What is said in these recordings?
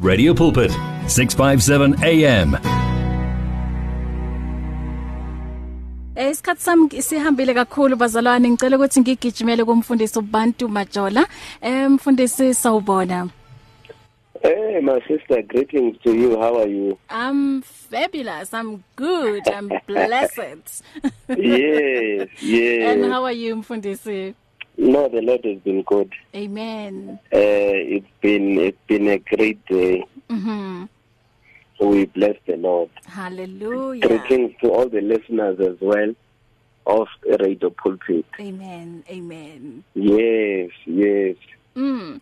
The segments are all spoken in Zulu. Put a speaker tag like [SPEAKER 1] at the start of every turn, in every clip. [SPEAKER 1] Radio Pulpit, 657 AM.
[SPEAKER 2] Esikhathi Eh, sami sihambile kakhulu bazalwane ngicela ukuthi ngigijimele kumfundisi uBantu Majola emfundisi sawubona
[SPEAKER 3] Hey, my sister, greetings to you. How are you?
[SPEAKER 2] I'm fabulous I'm good I'm blessed
[SPEAKER 3] yes,
[SPEAKER 2] and
[SPEAKER 3] yes.
[SPEAKER 2] how are you mfundisi
[SPEAKER 3] No, the Lord has been good.
[SPEAKER 2] Amen
[SPEAKER 3] Uh, it's been it's been a great day. Mm-hmm.
[SPEAKER 2] Mhm
[SPEAKER 3] We bless the Lord.
[SPEAKER 2] hallelujah
[SPEAKER 3] Greetings to all the listeners as well of Radio Pulpit.
[SPEAKER 2] Amen amen
[SPEAKER 3] Yes, yes,
[SPEAKER 2] Mm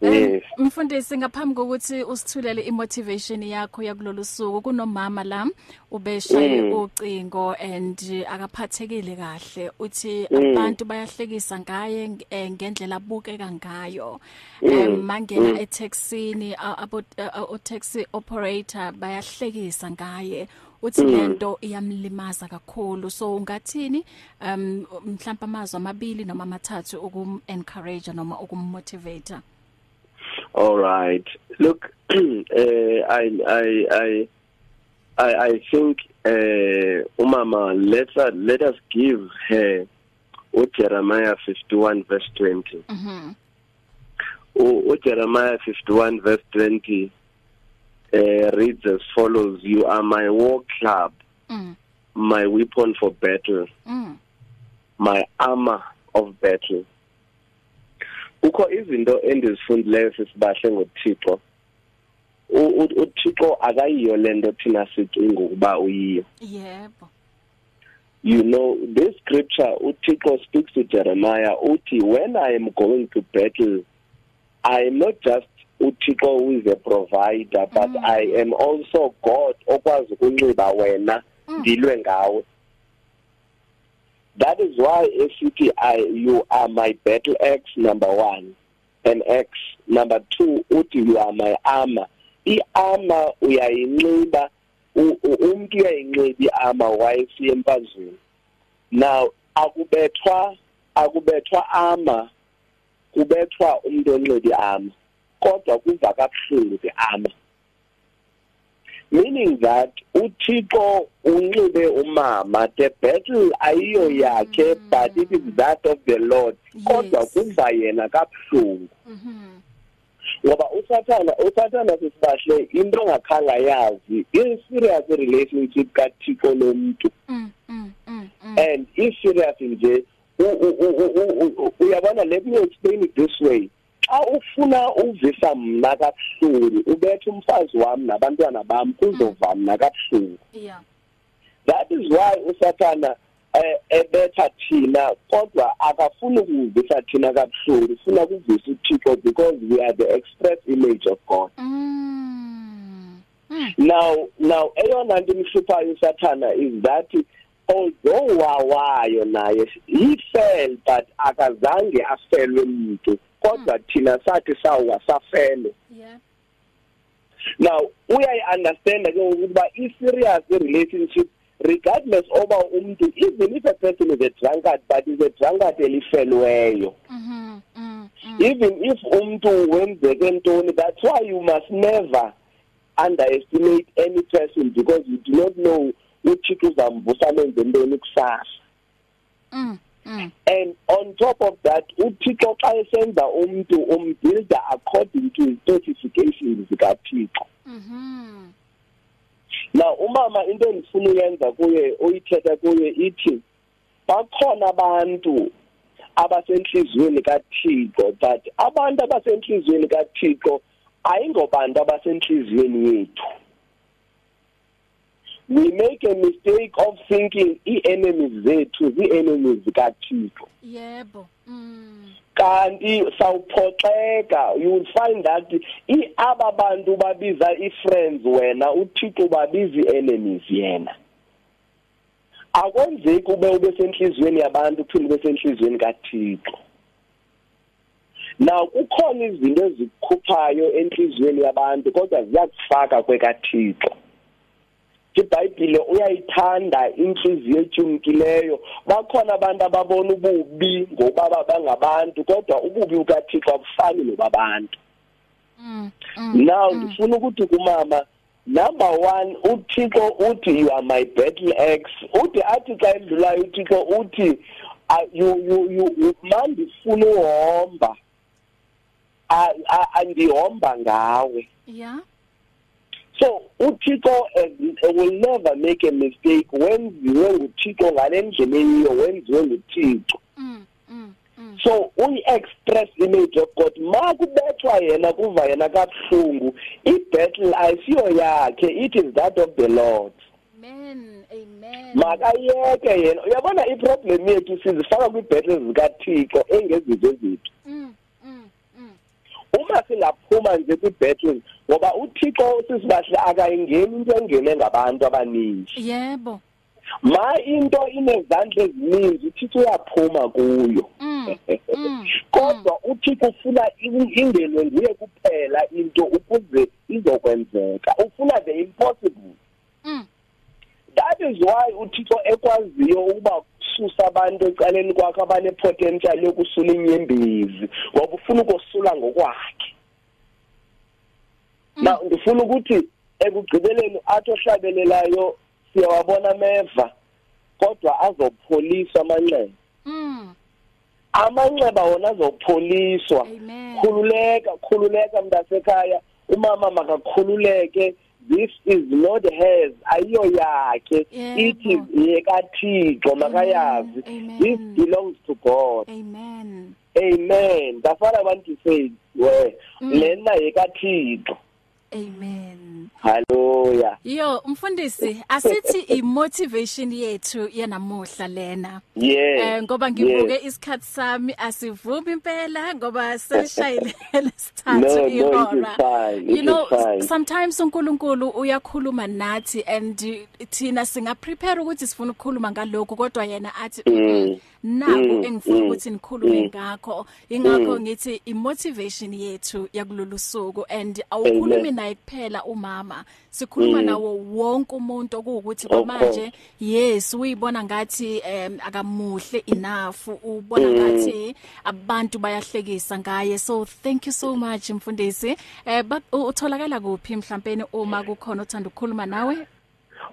[SPEAKER 3] yes.
[SPEAKER 2] Um, Mfundisi ngaphambi kokuthi usithulele imotivation yakho yakulolu suku kunomama la ubeshaye
[SPEAKER 3] Mm.
[SPEAKER 2] ucingo and eh, akaphathekile kahle uthi
[SPEAKER 3] Mm.
[SPEAKER 2] abantu bayahlekisa ngaye ng- eh, ngendlela abukeka ngayo
[SPEAKER 3] Mm.
[SPEAKER 2] Em, mangena etaxini a- abo a- o taxi operator bayahlekisa ngaye uthi lento iyamlimaza kakhulu so ungathini um mhlawumbe amazwi amabili noma amathathu ukum encourage noma ukum motivate
[SPEAKER 3] All right. Look, uh, I, I, I, I, I think, uh, Umama, let us, let us give her uh, Jeremiah 51, verse 20.
[SPEAKER 2] Mhm.
[SPEAKER 3] U- uJeremiah 51 verse 20 uh, reads as follows you are my war club
[SPEAKER 2] Mm.
[SPEAKER 3] my weapon for battle
[SPEAKER 2] Mm.
[SPEAKER 3] my armor of battle ukho izinto endizifundileyo sisibahle ngoThixo U- u- uThixo akayiyo lento thina sicinga ukuba uyiyo
[SPEAKER 2] Yebo.
[SPEAKER 3] you know this scripture uThixo speaks to Jeremiah uthi when i am going to battle i am not just uThixo who is a provider but
[SPEAKER 2] Mm.
[SPEAKER 3] i am also god okwazi ukunxiba wena
[SPEAKER 2] Mm.
[SPEAKER 3] ndilwe ngawe that is why esithi i you are my battle axe number 1 and axe number 2 uthi you are my armor i-armor uyayinxiba u- u- umntu uyayinxiba i-armor wayesiya emfazweni now akubethwa akubethwa armor kubethwa umuntu onxiba i-armor kodwa kuva kabuhlungu i-armor meaning that uThixo unxibe umama the battle ayiyo yakhe but it is that of the Lord kodwa
[SPEAKER 2] Yes.
[SPEAKER 3] kuva yena kabuhlungu
[SPEAKER 2] Mhm.
[SPEAKER 3] ngoba usathana usathana sisibahle into engakhanga yazi i-serious relationship kathixo nomntu
[SPEAKER 2] Mm. Mm. Mm. mm.
[SPEAKER 3] and i-serious nje u- u- u- u- u- u- u- uyabona let me explain it this way xa ufuna uvisa mna kabuhlungu ubethe umfazi wami nabantwana bami kuzova mna kabuhlungu
[SPEAKER 2] Yeah.
[SPEAKER 3] that is why usathana eh, ebetha thina kodwa akafuni ukuvisa thina kabuhlungu ufuna kuvisa uthixo because we are the express image of god
[SPEAKER 2] Mm. Mm.
[SPEAKER 3] now now eyona nto imhluphayo usathana is that although wawayo naye he fell but akazange afelwe mntu kodwa thina sathi sawa safele
[SPEAKER 2] Yeah.
[SPEAKER 3] now uyayi-understanda ke ngokuba i-serious relationship regardless oba umntu even if a person is a drunkard but is a drunkard elifelweyo
[SPEAKER 2] Mhm. Mm. mm.
[SPEAKER 3] even if umntu wenzeke ntoni that's why you must never underestimate any person because you do not know uthixo uzamvusa menze ntoni kusasa
[SPEAKER 2] Mm. Mm.
[SPEAKER 3] and on top of that uthixo xa esenza umntu umbuilda according to his specifications zikathixo
[SPEAKER 2] Mhm.
[SPEAKER 3] now umama into endifuna uyenza kuye uyithetha kuye ithi bakhona abantu abasenhliziyweni kaThixo but abantu abasenhliziyweni kaThixo ayingobantu abasenhliziyweni yethu we make a mistake of thinking i-enemies zethu zii-enemies zikathixo
[SPEAKER 2] Yebo. Mm.
[SPEAKER 3] kanti sawuphoxeka you will find that i aba bantu babiza i-friends wena uthixo babiza i-enemies yena akwenzeki ube ube senhliziyweni yabantu uphinde ube senhliziyweni kathixo naw kukhona izinto ezikukhuphayo enhliziyweni yabantu kodwa ziyakufaka kwekathixo ibhayibhile uyayithanda inhliziyo etyumkileyo bakhona abantu ababona ububi ngobaba bangabantu kodwa ububi bukathixo abufani nobabantu now ndifuna ukuthi kumama number one uthixo uthi you are my battle ax uthi athi xa endlulayo uthixo uthi ah, you- you- you- you- mandifuna uhomba Ah, ah, andihomba ngawe
[SPEAKER 2] yeah
[SPEAKER 3] so uthixo eh, will never make a mistake wenziwe nguthixo ngale ndlela eyiyo wenziwe nguthixo
[SPEAKER 2] mm mm mm
[SPEAKER 3] so uyi-express image of god ma kubethwa yena kuva yena kabuhlungu i-battle ayisiyo yakhe it is that of the lord
[SPEAKER 2] amen amen
[SPEAKER 3] makayeke yena uyabona iproblem yethu sizifaka kwii-battle zikathixo engezizo zethu
[SPEAKER 2] mm mm mm
[SPEAKER 3] uma singaphuma nje kwi-battle ngoba uthixo sisibahle akayingeni into engene ngabantu abaninji
[SPEAKER 2] yebo
[SPEAKER 3] ma into inezandla ezininzi uthixo uyaphuma kuyo
[SPEAKER 2] mm mm
[SPEAKER 3] kodwa uthixo ufuna in- ingenwe nguye kuphela into ukuze izokwenzeka ufuna the impossible
[SPEAKER 2] mm
[SPEAKER 3] that is why uthixo ekwaziyo ukuba susa abantu ecaleni kwakho abanepotential yokusula inyembezi ngoba ufuna ukosula ngokwakhe
[SPEAKER 2] Mm.
[SPEAKER 3] now ndifuna ukuthi ekugqibeleni athi ohlabelelayo siyawabona ameva kodwa azopholiswa amanxeba
[SPEAKER 2] mm
[SPEAKER 3] amanxeba wona azopholiswa
[SPEAKER 2] amen
[SPEAKER 3] khululeka khululeka mntasekhaya umama makakhululeke this is not hers ayiyo yakhe
[SPEAKER 2] Yebo.
[SPEAKER 3] it is yekathixo makayazi
[SPEAKER 2] Amen.
[SPEAKER 3] this belongs to god
[SPEAKER 2] amen
[SPEAKER 3] amen that's what i want to say we
[SPEAKER 2] Mm.
[SPEAKER 3] lena yekathixo
[SPEAKER 2] amen
[SPEAKER 3] haleluya
[SPEAKER 2] Yo mfundisi asithi imotivation yethu yanamuhla lena eh
[SPEAKER 3] yes
[SPEAKER 2] ngoba
[SPEAKER 3] yes.
[SPEAKER 2] ngibuke isikhatsi sami asivumi impela ngoba selishayile
[SPEAKER 3] No, no,
[SPEAKER 2] lesithathu
[SPEAKER 3] it is fine, it
[SPEAKER 2] you know
[SPEAKER 3] is fine.
[SPEAKER 2] sometimes uNkulunkulu uyakhuluma nathi and uh, thina singa prepare ukuthi sifuna ukukhuluma ngalokho kodwa yena athi
[SPEAKER 3] Mm.
[SPEAKER 2] naku
[SPEAKER 3] Mm,
[SPEAKER 2] engifuna
[SPEAKER 3] mm,
[SPEAKER 2] ukuthi nikhulume ngakho ingakho ngithi imotivation yethu yakulolu suku and awukhulumi
[SPEAKER 3] Amen. Mm.
[SPEAKER 2] naye kuphela umama sikhuluma nawo wonke umuntu okuwukuthi
[SPEAKER 3] Of
[SPEAKER 2] kwamanje
[SPEAKER 3] course.
[SPEAKER 2] yes uyibona ngathi em, akamuhle enough ubona
[SPEAKER 3] Mm.
[SPEAKER 2] ngathi abantu bayahlekisa ngaye so thank you so much mfundisi eh but u- utholakala kuphi mhlawumbe uma kukhona othanda ukukhuluma nawe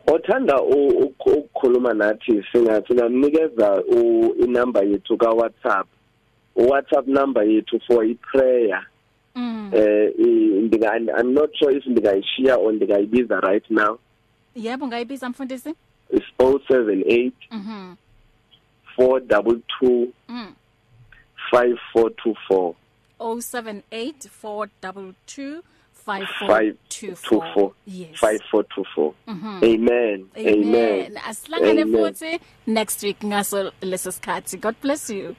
[SPEAKER 3] othanda u- uk- ukukhuluma nathi singa- singamnikeza u- inamba yethu kawhatsapp uwhatsapp number yethu for iprayer
[SPEAKER 2] mm
[SPEAKER 3] eh i- ndinga- I'm- i'm not sure if ndingayishiya or ndingayibiza right now
[SPEAKER 2] yebo ngayibiza mfundisi
[SPEAKER 3] it's 078
[SPEAKER 2] mhm
[SPEAKER 3] 422
[SPEAKER 2] mm
[SPEAKER 3] 5424
[SPEAKER 2] 0784225424
[SPEAKER 3] 5424
[SPEAKER 2] yes Mm-hmm.
[SPEAKER 3] 5424 amen amen
[SPEAKER 2] amen asilangane
[SPEAKER 3] Amen.
[SPEAKER 2] futhi next week ngaso leso sikhathi god bless you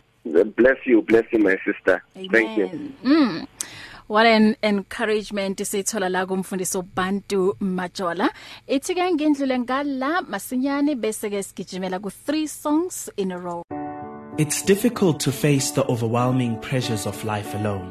[SPEAKER 3] bless you bless you my sister thank you
[SPEAKER 2] Amen. Mm. What an encouragement isithola la kumfundisi uBantu Majola. Ithi ke ngindlule ngala masinyane bese ke sigijimela ku 3 songs in a row.
[SPEAKER 4] It's difficult to face the overwhelming pressures of life alone.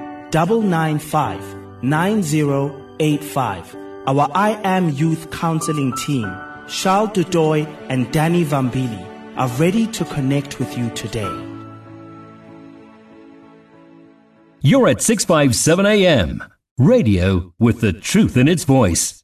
[SPEAKER 4] 995 9085. Our I Am Youth Counseling team, Charles Dudoy and Danny Vambili, are ready to connect with you today.
[SPEAKER 1] You're at 657 AM. Radio with the truth in its voice.